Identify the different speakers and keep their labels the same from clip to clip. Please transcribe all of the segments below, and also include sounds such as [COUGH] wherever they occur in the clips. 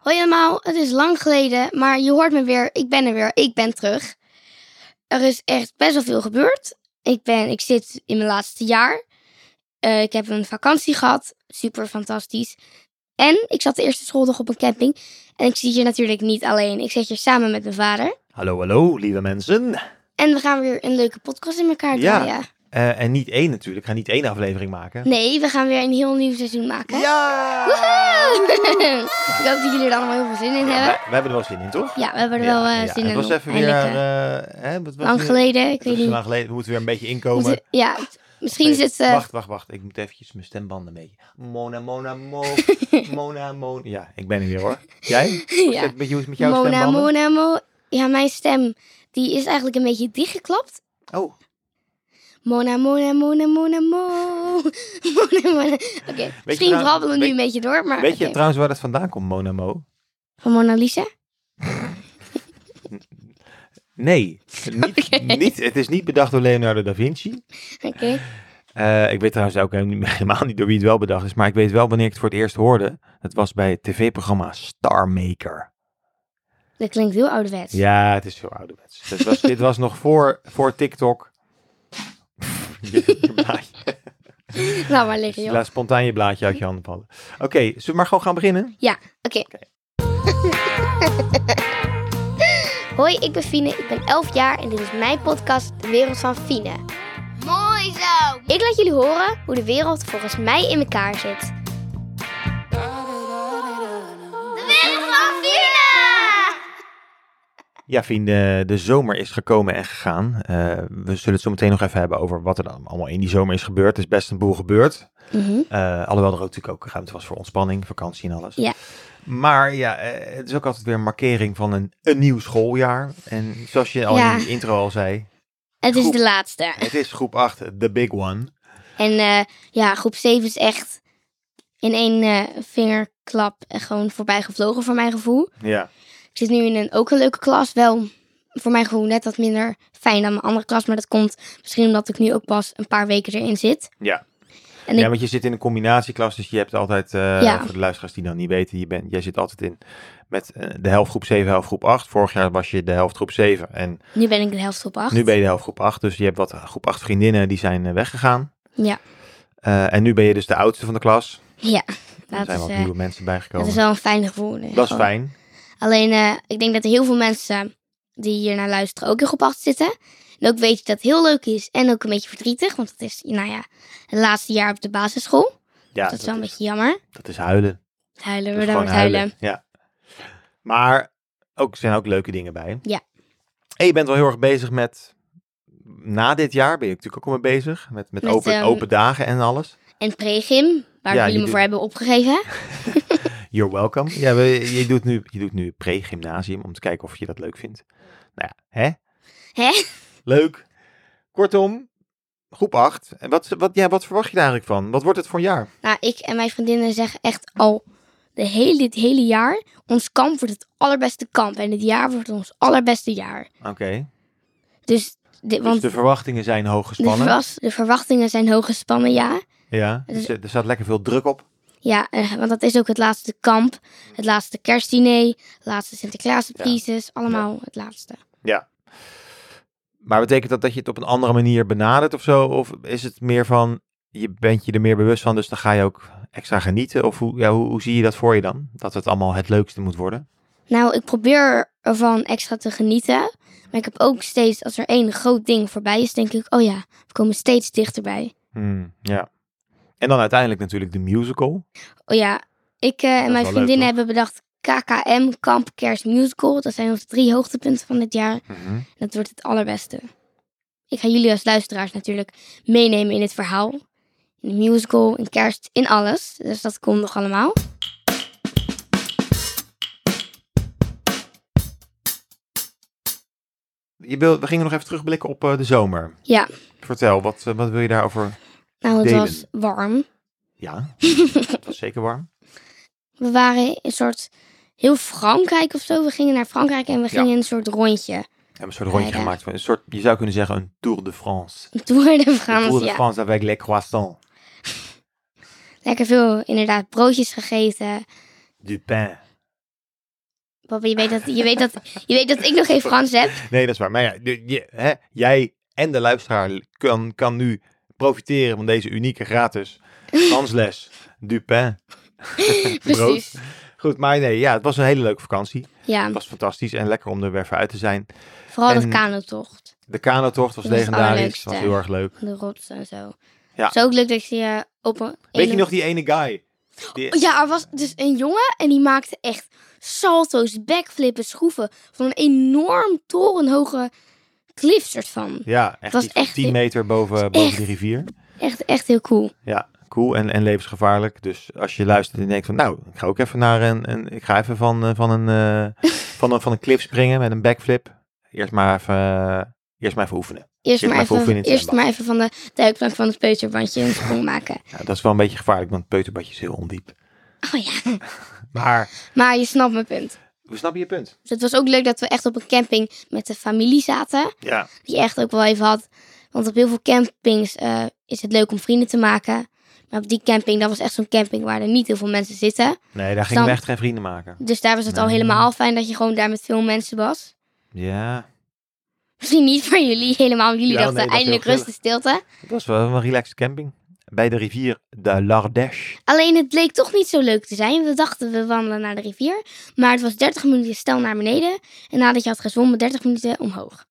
Speaker 1: Hoi allemaal, het is lang geleden, maar je hoort me weer. Ik ben er weer, ik ben terug. Er is echt best wel veel gebeurd. Ik, ben, ik zit in mijn laatste jaar. Eh, ik heb een vakantie gehad, super fantastisch. En ik zat de eerste schooldag op een camping. En ik zit hier natuurlijk niet alleen, ik zit hier samen met mijn vader.
Speaker 2: Hallo, hallo, lieve mensen.
Speaker 1: En we gaan weer een leuke podcast in elkaar
Speaker 2: Ja.
Speaker 1: draaien.
Speaker 2: Eh, en niet één natuurlijk. Ik ga niet één aflevering maken.
Speaker 1: Nee, we gaan weer een heel nieuw seizoen maken.
Speaker 2: Ja!
Speaker 1: [LAUGHS] ik hoop dat jullie er allemaal heel veel zin in
Speaker 2: Ja,
Speaker 1: hebben.
Speaker 2: wij, wij hebben er wel zin in, toch?
Speaker 1: Ja, we hebben er wel eh,
Speaker 2: Ja, ja.
Speaker 1: zin in.
Speaker 2: Het was
Speaker 1: op.
Speaker 2: even weer...
Speaker 1: Eindelijk, eh,
Speaker 2: eh, hè, wat was
Speaker 1: lang
Speaker 2: nu?
Speaker 1: geleden, ik
Speaker 2: Het was
Speaker 1: weet
Speaker 2: zo
Speaker 1: niet.
Speaker 2: lang geleden. We moeten weer een beetje inkomen.
Speaker 1: Moeten- ja, het- misschien
Speaker 2: Nee,
Speaker 1: zit eh,
Speaker 2: Wacht, wacht, wacht. Ik moet eventjes mijn stembanden een beetje... Mona, Mona,
Speaker 1: [LAUGHS]
Speaker 2: Mo. Mona, Mona. Ja, ik ben er weer, hoor. Jij?
Speaker 1: [LAUGHS] Ja.
Speaker 2: Een beetje hoe is het met jouw
Speaker 1: Mona,
Speaker 2: stembanden?
Speaker 1: Mona, Mo. Ja, mijn stem die is eigenlijk een beetje dichtgeklapt.
Speaker 2: Oh,
Speaker 1: Mona, Mona, Mona, Mona, Mo. [LAUGHS] Mona, Mona. Oké, misschien
Speaker 2: trouwens-
Speaker 1: brabbelen we nu
Speaker 2: weet-
Speaker 1: een beetje door, maar
Speaker 2: weet je
Speaker 1: Ah, oké.
Speaker 2: trouwens waar dat vandaan komt, Mona, Mo?
Speaker 1: van Mona Lisa.
Speaker 2: Nee,
Speaker 1: [LAUGHS]
Speaker 2: niet, niet, het is niet bedacht door Leonardo da Vinci.
Speaker 1: Oké.
Speaker 2: Eh, ik weet trouwens ook helemaal niet [LAUGHS] door wie het wel bedacht is, maar ik weet wel wanneer ik het voor het eerst hoorde. Dat was bij het tv-programma Star Maker.
Speaker 1: Dat klinkt heel ouderwets.
Speaker 2: Ja, Dus het is zo ouderwets. Dit was, dit was nog voor, voor [LAUGHS] TikTok. je, je blaadje.
Speaker 1: Laat maar liggen, joh.
Speaker 2: Laat spontaan je blaadje uit je handen vallen. Oké, zullen we maar gewoon gaan beginnen?
Speaker 1: Ja, oké. [LAUGHS] Hoi, ik ben Fine. Ik ben 11 jaar en dit is mijn podcast De Wereld van Fine. Mooi zo! Ik laat jullie horen hoe de wereld volgens mij in elkaar zit. De Wereld van Fine!
Speaker 2: Ja, vrienden, de zomer is gekomen en gegaan. Eh, we zullen het zo meteen nog even hebben over wat er dan allemaal in die zomer is gebeurd. Er is best een boel gebeurd.
Speaker 1: Mhm.
Speaker 2: Eh, alhoewel er ook natuurlijk ook ruimte was voor ontspanning, vakantie en alles.
Speaker 1: Ja.
Speaker 2: Maar ja, eh, het is ook altijd weer een markering van een, een nieuw schooljaar. En zoals je al
Speaker 1: Ja.
Speaker 2: in de intro al zei,
Speaker 1: Het is
Speaker 2: Goed.
Speaker 1: de laatste.
Speaker 2: het is groep 8, the big one.
Speaker 1: En eh, ja, groep 7 is echt in één eh, vingerklap gewoon voorbij gevlogen voor mijn gevoel.
Speaker 2: Ja.
Speaker 1: Ik zit nu in een ook een leuke klas. Wel voor mijn gevoel net wat minder fijn dan mijn andere klas. Maar dat komt misschien omdat ik nu ook pas een paar weken erin zit.
Speaker 2: Ja.
Speaker 1: En
Speaker 2: ja,
Speaker 1: ik-
Speaker 2: want je zit in een combinatieklas, dus je hebt altijd, eh,
Speaker 1: Ja.
Speaker 2: voor de luisteraars die dat niet weten, je bent, jij zit altijd in met eh, de helft groep 7, helft groep 8. Vorig jaar was je de helft groep 7 en
Speaker 1: Nu ben ik de helft op acht.
Speaker 2: Nu ben je de helft groep 8, dus je hebt wat groep 8 vriendinnen die zijn eh, weggegaan.
Speaker 1: Ja.
Speaker 2: Eh, en nu ben je dus de oudste van de klas.
Speaker 1: Ja,
Speaker 2: Er
Speaker 1: dat
Speaker 2: zijn
Speaker 1: is,
Speaker 2: wat
Speaker 1: eh,
Speaker 2: nieuwe mensen
Speaker 1: dat
Speaker 2: bijgekomen.
Speaker 1: is wel een fijn gevoel. eh,
Speaker 2: Dat is
Speaker 1: gewoon.
Speaker 2: fijn.
Speaker 1: Alleen, eh, ik denk dat er heel veel mensen die hier naar luisteren ook in groep 8 zitten. En ook weet je dat het heel leuk is en ook een beetje verdrietig. Want het is, nou ja, het laatste jaar op de basisschool.
Speaker 2: Ja,
Speaker 1: dat is wel een beetje jammer.
Speaker 2: dat is huilen.
Speaker 1: Huilen,
Speaker 2: Dat
Speaker 1: we
Speaker 2: is
Speaker 1: dan wordt
Speaker 2: gewoon
Speaker 1: huilen.
Speaker 2: huilen. Ja. Maar ook, er zijn ook leuke dingen bij.
Speaker 1: Ja.
Speaker 2: En je bent wel heel erg bezig met, na dit jaar ben je natuurlijk ook al mee bezig. Met, met,
Speaker 1: Met,
Speaker 2: open,
Speaker 1: ehm,
Speaker 2: open dagen en alles.
Speaker 1: En pregim, waar
Speaker 2: Ja,
Speaker 1: jullie
Speaker 2: je
Speaker 1: me
Speaker 2: doet-
Speaker 1: voor hebben opgegeven.
Speaker 2: You're welcome. Ja, we, je doet nu, je doet nu pre-gymnasium om te kijken of je dat leuk vindt. Nou ja, hè?
Speaker 1: Hè?
Speaker 2: Leuk. Kortom, groep 8. En wat, wat, ja, wat verwacht je daar eigenlijk van? Wat wordt het voor een jaar?
Speaker 1: Nou, ik en mijn vriendinnen zeggen echt al de hele, dit hele jaar... ons kamp wordt het allerbeste kamp. En dit jaar wordt ons allerbeste jaar.
Speaker 2: Oké.
Speaker 1: Dus, dit,
Speaker 2: Dus
Speaker 1: want
Speaker 2: de verwachtingen zijn hoog
Speaker 1: de,
Speaker 2: gespannen.
Speaker 1: verwas- de verwachtingen zijn hoog gespannen, ja.
Speaker 2: Ja, dus er er staat lekker veel druk op.
Speaker 1: Ja, eh, want dat is ook het laatste kamp. Het laatste kerstdiner. Het laatste Sinterklaas Allemaal het laatste.
Speaker 2: Maar betekent dat dat je het op een andere manier benadert of zo? Of is het meer van, je bent je er meer bewust van, dus dan ga je ook extra genieten? Of hoe, ja, hoe, hoe zie je dat voor je dan? Dat het allemaal het leukste moet worden?
Speaker 1: Nou, ik probeer ervan extra te genieten. Maar ik heb ook steeds, als er één groot ding voorbij is... denk ik, oh ja, we komen steeds dichterbij.
Speaker 2: Hmm, ja. En dan uiteindelijk natuurlijk de musical.
Speaker 1: Oh ja, ik eh,
Speaker 2: is
Speaker 1: en
Speaker 2: wel
Speaker 1: mijn
Speaker 2: leuk,
Speaker 1: vriendinnen
Speaker 2: toch?
Speaker 1: hebben bedacht KKM Kamp Kerst Musical. Dat zijn onze drie hoogtepunten van dit jaar.
Speaker 2: Mhm.
Speaker 1: Dat wordt het allerbeste. Ik ga jullie als luisteraars natuurlijk meenemen in het verhaal. In de musical, in kerst, in alles. Dus dat komt nog allemaal.
Speaker 2: Je wil, we gingen nog even terugblikken op eh, de zomer.
Speaker 1: Ja,
Speaker 2: Vertel, wat, eh, wat wil je daarover?
Speaker 1: nou het
Speaker 2: Delen.
Speaker 1: was warm. [LAUGHS]
Speaker 2: Ja, het was zeker warm.
Speaker 1: We waren een soort heel Frankrijk of zo. We gingen naar Frankrijk en we gingen een soort rondje.
Speaker 2: We hebben een soort rondje
Speaker 1: Ja, ja.
Speaker 2: gemaakt. Van, een soort, je zou kunnen zeggen een Tour de France.
Speaker 1: Een Tour de
Speaker 2: Een Tour
Speaker 1: France,
Speaker 2: de
Speaker 1: ja.
Speaker 2: France avec les croissants.
Speaker 1: Lekker veel inderdaad broodjes gegeten.
Speaker 2: Du pain.
Speaker 1: Papa, je weet dat, je weet dat, je weet dat ik nog geen Frans heb.
Speaker 2: Nee, dat is waar. Maar ja, de- je, hè, jij en de luisteraar kan, kan nu profiteren van deze unieke gratis
Speaker 1: [LAUGHS]
Speaker 2: Fransles Dupin.
Speaker 1: Precies.
Speaker 2: Goed, maar nee, ja, het was een hele leuke vakantie.
Speaker 1: Ja,
Speaker 2: Het was fantastisch en lekker om er weer voor uit te zijn.
Speaker 1: vooral
Speaker 2: En-
Speaker 1: dat kanotocht.
Speaker 2: De kanotocht was
Speaker 1: Dat is het
Speaker 2: legendarisch,
Speaker 1: allerleukste.
Speaker 2: was heel erg leuk.
Speaker 1: De rotsen en zo.
Speaker 2: Ja.
Speaker 1: Het is ook leuk dat je eh, op een...
Speaker 2: Weet je
Speaker 1: ene-
Speaker 2: nog die ene guy? Die-
Speaker 1: Ja, er was dus een jongen en die maakte echt salto's, backflippen, schroeven van een enorm torenhoge klif soort van.
Speaker 2: Ja, echt,
Speaker 1: was
Speaker 2: iets van
Speaker 1: echt-
Speaker 2: 10 meter boven, boven
Speaker 1: echt-
Speaker 2: de rivier.
Speaker 1: Echt, echt heel cool.
Speaker 2: Ja, cool en, en levensgevaarlijk. Dus als je luistert en denkt van, nou, ik ga ook even naar een, een ik ga even van, eh, van, een, eh, van, een, van een cliff springen met een backflip. Eerst maar even, eh, eerst maar even oefenen.
Speaker 1: Eerst maar
Speaker 2: maar voor
Speaker 1: even,
Speaker 2: oefenen in het
Speaker 1: eerst
Speaker 2: zwembad.
Speaker 1: maar even van de duikplank van het peuterbandje
Speaker 2: [LAUGHS]
Speaker 1: een sprong maken.
Speaker 2: Ja, Nou, dat is wel een beetje gevaarlijk, want het peuterbadje is heel ondiep.
Speaker 1: Oh ja,
Speaker 2: Maar,
Speaker 1: maar je snapt mijn punt.
Speaker 2: we snappen je punt.
Speaker 1: Dus het was ook leuk dat we echt op een camping met de familie zaten.
Speaker 2: Ja,
Speaker 1: Die je echt ook wel even had. Want op heel veel campings eh, is het leuk om vrienden te maken. Maar op die camping, dat was echt zo'n camping waar er niet heel veel mensen zitten.
Speaker 2: nee, daar gingen we
Speaker 1: Dan-
Speaker 2: echt geen vrienden maken.
Speaker 1: Dus daar was het al
Speaker 2: Nee.
Speaker 1: helemaal fijn dat je gewoon daar met veel mensen was. [LAUGHS]
Speaker 2: Ja,
Speaker 1: Misschien niet voor jullie helemaal, want jullie
Speaker 2: Ja,
Speaker 1: dachten
Speaker 2: nee, dat is heel
Speaker 1: eindelijk rust en stilte.
Speaker 2: het was wel een relaxed camping. Bij de rivier de Lardèche.
Speaker 1: Alleen het bleek toch niet zo leuk te zijn. We dachten we wandelen naar de rivier. Maar het was 30 minuten stel naar beneden. En nadat je had gezwommen, 30 minuten omhoog.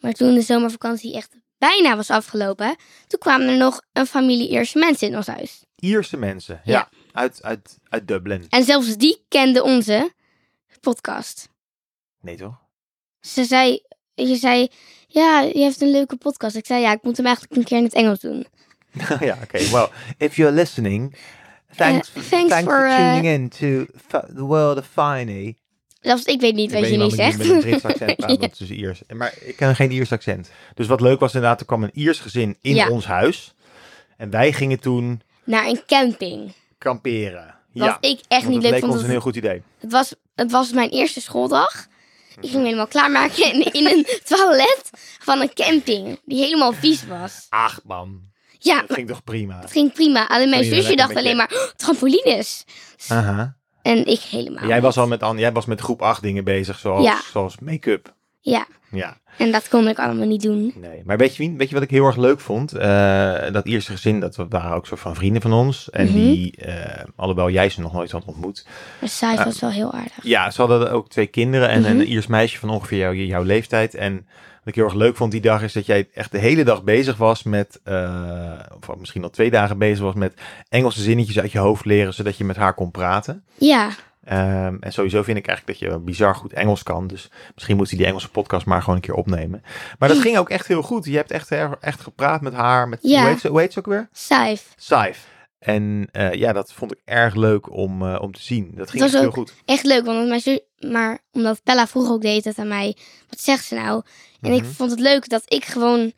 Speaker 1: Maar toen de zomervakantie echt bijna was afgelopen, toen kwamen er nog een familie Ierse mensen in ons huis.
Speaker 2: Ierse mensen, ja,
Speaker 1: Ja.
Speaker 2: Uit, uit, uit Dublin.
Speaker 1: En zelfs die kenden onze podcast.
Speaker 2: Nee toch?
Speaker 1: Ze zei, je zei, ja, je hebt een leuke podcast. Ik zei, ja, ik moet hem eigenlijk een keer in het Engels doen.
Speaker 2: [LAUGHS] ja, oké. Well, if you're listening, thanks,
Speaker 1: Eh, thanks
Speaker 2: thanks
Speaker 1: for,
Speaker 2: for,
Speaker 1: eh,
Speaker 2: tuning in to fa- the world of Finey.
Speaker 1: Zelfs ik weet niet
Speaker 2: ik
Speaker 1: wat
Speaker 2: weet
Speaker 1: jullie
Speaker 2: niet waarom ik
Speaker 1: zegt.
Speaker 2: niet met een Brits
Speaker 1: [LAUGHS]
Speaker 2: accent praat, want het is dus Iers. Maar ik ken geen Iers accent. Dus wat leuk was inderdaad, er kwam een Iers gezin in
Speaker 1: Ja.
Speaker 2: ons huis. En wij gingen toen
Speaker 1: Naar een camping.
Speaker 2: kamperen.
Speaker 1: Wat
Speaker 2: ja,
Speaker 1: ik echt
Speaker 2: want
Speaker 1: niet leuk
Speaker 2: dat leek
Speaker 1: vond.
Speaker 2: ons
Speaker 1: want
Speaker 2: een heel goed idee.
Speaker 1: het, was, het was mijn eerste schooldag. Ik ging
Speaker 2: Mhm.
Speaker 1: me helemaal klaarmaken en in een
Speaker 2: [LAUGHS]
Speaker 1: toilet van een camping. Die helemaal vies was.
Speaker 2: Ach man,
Speaker 1: Ja,
Speaker 2: dat
Speaker 1: maar
Speaker 2: ging toch prima.
Speaker 1: het ging prima. Alleen mijn
Speaker 2: Ging je er
Speaker 1: zusje dacht
Speaker 2: lekker met je-
Speaker 1: alleen maar, "Oh, trampolines.
Speaker 2: Aha.
Speaker 1: En ik helemaal.
Speaker 2: Maar jij was al met, Anne- jij was met groep 8 dingen bezig, zoals,
Speaker 1: Ja.
Speaker 2: zoals make-up.
Speaker 1: Ja,
Speaker 2: Ja.
Speaker 1: en dat kon ik allemaal niet doen.
Speaker 2: Nee, maar weet je, wie- weet je wat ik heel erg leuk vond? Eh, dat eerste gezin, dat waren ook soort van vrienden van ons. En
Speaker 1: Mhm.
Speaker 2: die, eh, alhoewel jij ze nog nooit had ontmoet.
Speaker 1: Maar Saif was wel heel aardig.
Speaker 2: Ja, ze hadden ook twee kinderen en
Speaker 1: Mhm.
Speaker 2: een Iers meisje van ongeveer jou- jouw leeftijd. En wat ik heel erg leuk vond die dag is dat jij echt de hele dag bezig was met, eh, of misschien al twee dagen bezig was met Engelse zinnetjes uit je hoofd leren, zodat je met haar kon praten.
Speaker 1: Ja,
Speaker 2: Ehm, en sowieso vind ik eigenlijk dat je bizar goed Engels kan. Dus misschien moet hij die Engelse podcast maar gewoon een keer opnemen. Maar dat ging ook echt heel goed. Je hebt echt, echt gepraat met haar. Met,
Speaker 1: Ja.
Speaker 2: hoe, heet ze, hoe heet ze ook weer?
Speaker 1: Saif.
Speaker 2: Saif. En eh, ja, dat vond ik erg leuk om, eh, om te zien. Dat ging
Speaker 1: was
Speaker 2: echt heel
Speaker 1: ook-
Speaker 2: goed.
Speaker 1: echt leuk, want mijn zus, maar omdat Bella vroeg ook deed het aan mij, wat zegt ze nou? En
Speaker 2: Mhm.
Speaker 1: ik vond het leuk dat ik gewoon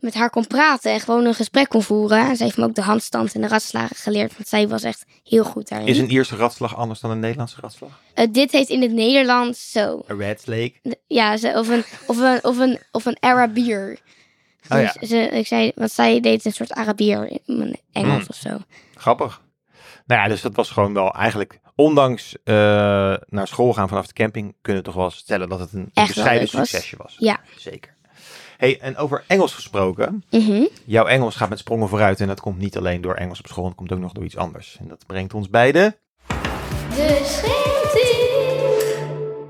Speaker 1: met haar kon praten en gewoon een gesprek kon voeren. En ze heeft me ook de handstand en de ratslagen geleerd, want zij was echt heel goed daarin.
Speaker 2: Is een Ierse ratslag anders dan een Nederlandse ratslag?
Speaker 1: Eh, dit heet in het Nederlands zo.
Speaker 2: Een red lake.
Speaker 1: De- Ja, ze, of, een, of, een, of, een, of een Arabier.
Speaker 2: Oh ja.
Speaker 1: Dus ze, ik zei, want zij deed een soort Arabier in Engels
Speaker 2: Mm.
Speaker 1: of zo.
Speaker 2: Grappig. Nou ja, dus dat was gewoon wel eigenlijk... Ondanks eh, naar school gaan vanaf de camping... kunnen we toch wel stellen dat het een
Speaker 1: wel
Speaker 2: bescheiden
Speaker 1: leuk was.
Speaker 2: succesje was.
Speaker 1: Ja.
Speaker 2: Zeker. hey, en over Engels gesproken...
Speaker 1: Mhm.
Speaker 2: Jouw Engels gaat met sprongen vooruit en dat komt niet alleen door Engels op school, het komt ook nog door iets anders. En dat brengt ons bij de...
Speaker 1: De schelding.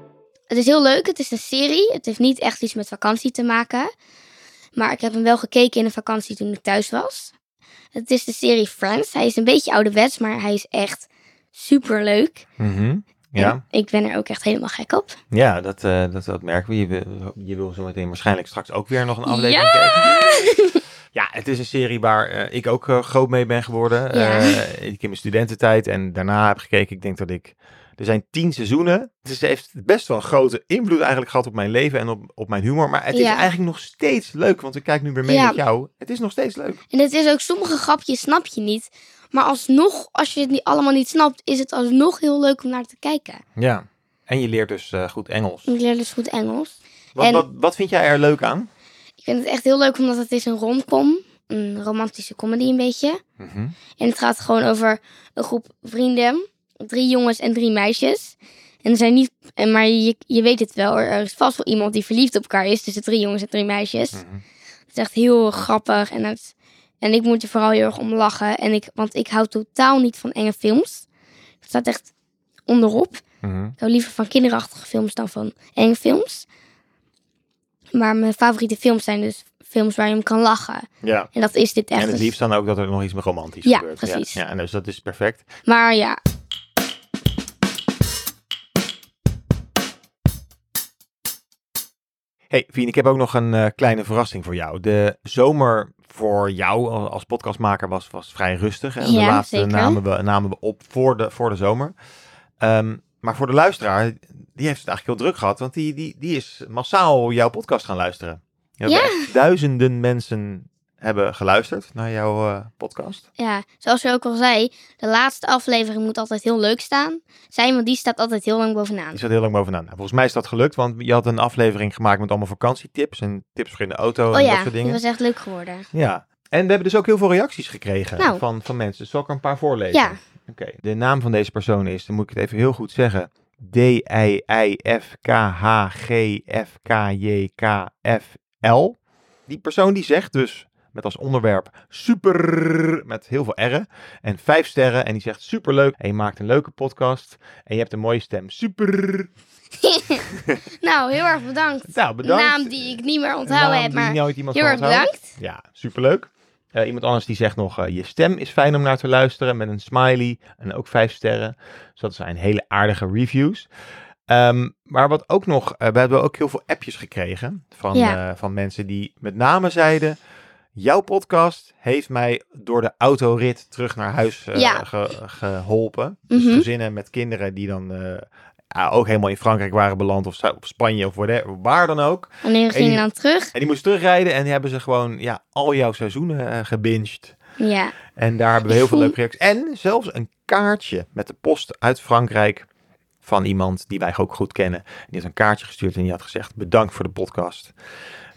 Speaker 1: Het is heel leuk. Het is een serie. Het heeft niet echt iets met vakantie te maken. Maar ik heb hem wel gekeken in de vakantie toen ik thuis was. Het is de serie Friends. Hij is een beetje ouderwets, maar hij is echt super leuk.
Speaker 2: Mhm. Ja,
Speaker 1: Ik ben er ook echt helemaal gek op.
Speaker 2: ja dat, eh, dat, dat merken we. Je, wil- je wil zo meteen waarschijnlijk straks ook weer nog een aflevering
Speaker 1: Ja!
Speaker 2: kijken. Ja, het is een serie waar eh, ik ook eh, groot mee ben geworden.
Speaker 1: Ja.
Speaker 2: Eh, ik in mijn studententijd en daarna heb gekeken. Ik denk dat ik... Er zijn tien seizoenen. Dus het heeft best wel een grote invloed eigenlijk gehad op mijn leven en op, op mijn humor. Maar het is
Speaker 1: Ja.
Speaker 2: eigenlijk nog steeds leuk, want ik kijk nu weer mee
Speaker 1: Ja.
Speaker 2: met jou. Het is nog steeds leuk.
Speaker 1: En het is ook sommige grapjes snap je niet. Maar alsnog, als je het niet, allemaal niet snapt, is het alsnog heel leuk om naar te kijken.
Speaker 2: Ja. En je leert dus eh, goed Engels.
Speaker 1: Ik leer dus goed Engels.
Speaker 2: Wat,
Speaker 1: En-
Speaker 2: wat, wat vind jij er leuk aan?
Speaker 1: Ik vind het echt heel leuk omdat het is een romcom. een romantische comedy een beetje.
Speaker 2: Mhm.
Speaker 1: En het gaat gewoon over een groep vrienden. Drie jongens en drie meisjes. En er zijn niet, en maar je, je weet het wel, er er is vast wel iemand die verliefd op elkaar is tussen drie jongens en drie meisjes.
Speaker 2: Mhm.
Speaker 1: Het is echt heel grappig en, het, en ik moet er vooral heel erg om lachen. En ik, want ik hou totaal niet van enge films. Dat staat echt onderop.
Speaker 2: Mhm.
Speaker 1: Ik hou liever van kinderachtige films dan van enge films. Maar mijn favoriete films zijn dus films waar je om kan lachen.
Speaker 2: Ja.
Speaker 1: En dat is dit echt.
Speaker 2: en het
Speaker 1: Dus-
Speaker 2: liefst dan ook dat er nog iets met romantisch
Speaker 1: Ja,
Speaker 2: gebeurt.
Speaker 1: precies.
Speaker 2: Ja, ja, en dus dat is perfect.
Speaker 1: Maar ja,
Speaker 2: Hey Fien, ik heb ook nog een eh, kleine verrassing voor jou. De zomer voor jou al- als podcastmaker was, was vrij rustig. En de
Speaker 1: Ja,
Speaker 2: laatste
Speaker 1: zeker.
Speaker 2: namen we, namen we op voor de, voor de zomer. Ehm, maar voor de luisteraar, die heeft het eigenlijk heel druk gehad. Want die, die, die is massaal jouw podcast gaan luisteren. Je hebt
Speaker 1: Ja.
Speaker 2: echt Duizenden mensen hebben geluisterd naar jouw eh, podcast.
Speaker 1: Ja, zoals je ook al zei, de laatste aflevering moet altijd heel leuk staan. Zijn, want die staat altijd heel lang bovenaan.
Speaker 2: Ik zat heel lang bovenaan. Nou, volgens mij is dat gelukt, want je had een aflevering gemaakt met allemaal vakantietips. En tips voor in de auto
Speaker 1: Oh
Speaker 2: en
Speaker 1: ja,
Speaker 2: dat soort
Speaker 1: dat
Speaker 2: dingen.
Speaker 1: was echt leuk geworden.
Speaker 2: Ja. En we hebben dus ook heel veel reacties gekregen
Speaker 1: Nou.
Speaker 2: van, van mensen. Dus zal ik er een paar voorlezen?
Speaker 1: Ja.
Speaker 2: Oké. De naam van deze persoon is, dan moet ik het even heel goed zeggen. D-I-I-F-K-H-G-F-K-J-K-F-L. Die persoon die zegt dus met als onderwerp super met heel veel R'en en vijf sterren. En die zegt superleuk en je maakt een leuke podcast en je hebt een mooie stem. Super.
Speaker 1: Nou, heel erg bedankt.
Speaker 2: Nou, bedankt.
Speaker 1: Naam die ik niet meer
Speaker 2: Een
Speaker 1: onthouden
Speaker 2: naam
Speaker 1: heb,
Speaker 2: die
Speaker 1: maar
Speaker 2: nooit iemand
Speaker 1: heel
Speaker 2: zal
Speaker 1: erg
Speaker 2: onthouden.
Speaker 1: bedankt.
Speaker 2: Ja, superleuk. Eh, iemand anders die zegt nog, eh, je stem is fijn om naar te luisteren met een smiley en ook vijf sterren. Dus dat zijn hele aardige reviews. Ehm, maar wat ook nog, eh, we hebben ook heel veel appjes gekregen van,
Speaker 1: Ja.
Speaker 2: eh, van mensen die met name zeiden, jouw podcast heeft mij door de autorit terug naar huis eh,
Speaker 1: Ja.
Speaker 2: ge- geholpen. Dus
Speaker 1: Mhm.
Speaker 2: gezinnen met kinderen die dan eh, ah, ook helemaal in Frankrijk waren beland of Zu- op Spanje of whatever, waar dan ook.
Speaker 1: Wanneer we
Speaker 2: En die-
Speaker 1: gingen dan terug?
Speaker 2: En die moest terugrijden en die hebben ze gewoon ja, al jouw seizoenen eh, gebinged.
Speaker 1: Ja,
Speaker 2: En daar hebben we heel
Speaker 1: Ik
Speaker 2: veel
Speaker 1: voel-
Speaker 2: leuke reacties. En zelfs een kaartje met de post uit Frankrijk van iemand die wij ook goed kennen. Die heeft een kaartje gestuurd en die had gezegd bedankt voor de podcast.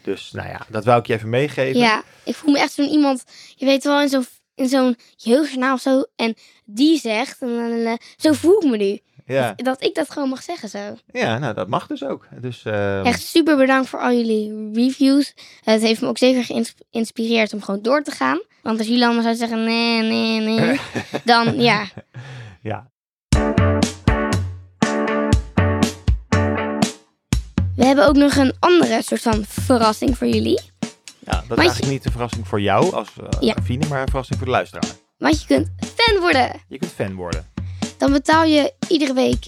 Speaker 2: Dus nou ja, dat wou ik je even meegeven.
Speaker 1: ja. Ik voel me echt zo'n iemand, je weet wel, in zo'n in zo'n jeugdjournaal of zo. En die zegt, en, eh, zo voel ik me nu.
Speaker 2: ja.
Speaker 1: Dat ik dat gewoon mag zeggen zo.
Speaker 2: Ja, nou dat mag dus ook. Dus eh,
Speaker 1: Echt super bedankt voor al jullie reviews. Het heeft me ook zeker geïnspireerd om gewoon door te gaan. Want als jullie allemaal zouden zeggen nee, nee, nee, dan ja.
Speaker 2: ja.
Speaker 1: We hebben ook nog een andere soort van verrassing voor jullie.
Speaker 2: ja, dat
Speaker 1: je-
Speaker 2: is eigenlijk niet een verrassing voor jou als eh
Speaker 1: Ja.
Speaker 2: Fine, maar een verrassing voor de luisteraar.
Speaker 1: Want je kunt fan worden.
Speaker 2: Je kunt fan worden. [LAUGHS]
Speaker 1: Dan betaal je iedere week.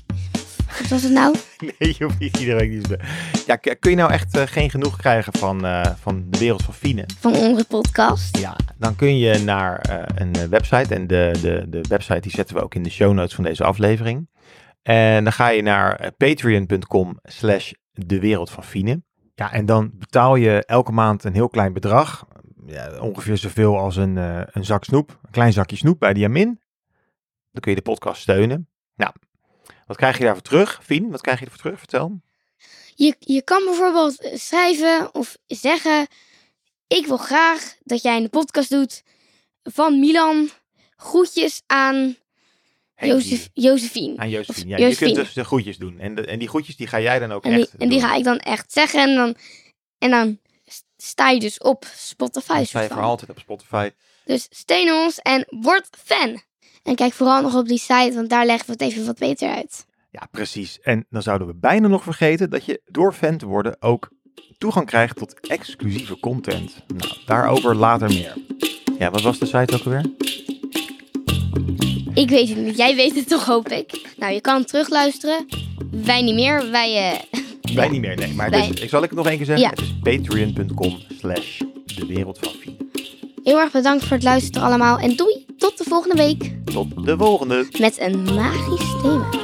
Speaker 1: Wat was het nou?
Speaker 2: Nee, je hoeft niet iedere week nieuws te Ja, k- kun je nou echt eh, geen genoeg krijgen van, eh, van de wereld van Fine?
Speaker 1: Van onze podcast.
Speaker 2: Ja, dan kun je naar eh, een eh, website. En de, de, de website die zetten we ook in de show notes van deze aflevering. En dan ga je naar eh, patreon.com slash de wereld van Fine. Ja, en dan betaal je elke maand een heel klein bedrag. Ja, ongeveer zoveel als een, eh, een zak snoep. Een klein zakje snoep bij Diamin. Dan kun je de podcast steunen. Nou, wat krijg je daarvoor terug? Fien, wat krijg je ervoor terug? Vertel.
Speaker 1: Je, je kan bijvoorbeeld eh, schrijven of zeggen: Ik wil graag dat jij een podcast doet van Milan. Groetjes aan
Speaker 2: Hey,
Speaker 1: Jozef, Josephine.
Speaker 2: Aan Josephine. Ja,
Speaker 1: Of
Speaker 2: Je
Speaker 1: Josephine.
Speaker 2: kunt dus de groetjes doen. En, de- en die groetjes die ga jij dan ook
Speaker 1: En
Speaker 2: echt
Speaker 1: die, en die
Speaker 2: doen.
Speaker 1: ga ik dan echt zeggen. En dan, en dan s- sta je dus op Spotify.
Speaker 2: Dan sta je
Speaker 1: soort
Speaker 2: voor
Speaker 1: van.
Speaker 2: altijd op Spotify.
Speaker 1: Dus steun ons en word fan. En kijk vooral nog op die site, want daar leggen we het even wat beter uit.
Speaker 2: Ja, precies. En dan zouden we bijna nog vergeten dat je door fan te worden ook toegang krijgt tot exclusieve content. Nou, daarover later meer. Ja, wat was de site ook alweer?
Speaker 1: Ik weet het niet, jij weet het toch, hoop ik. Nou, je kan terugluisteren. Wij niet meer, wij... eh
Speaker 2: Wij niet meer, nee. Maar
Speaker 1: Wij.
Speaker 2: dus, ik zal ik het nog één keer zeggen.
Speaker 1: Ja.
Speaker 2: Het is patreon.com slash de wereld van Fien.
Speaker 1: Heel erg bedankt voor het luisteren allemaal. En doei, tot de volgende week
Speaker 2: Tot de volgende!
Speaker 1: met een magisch thema.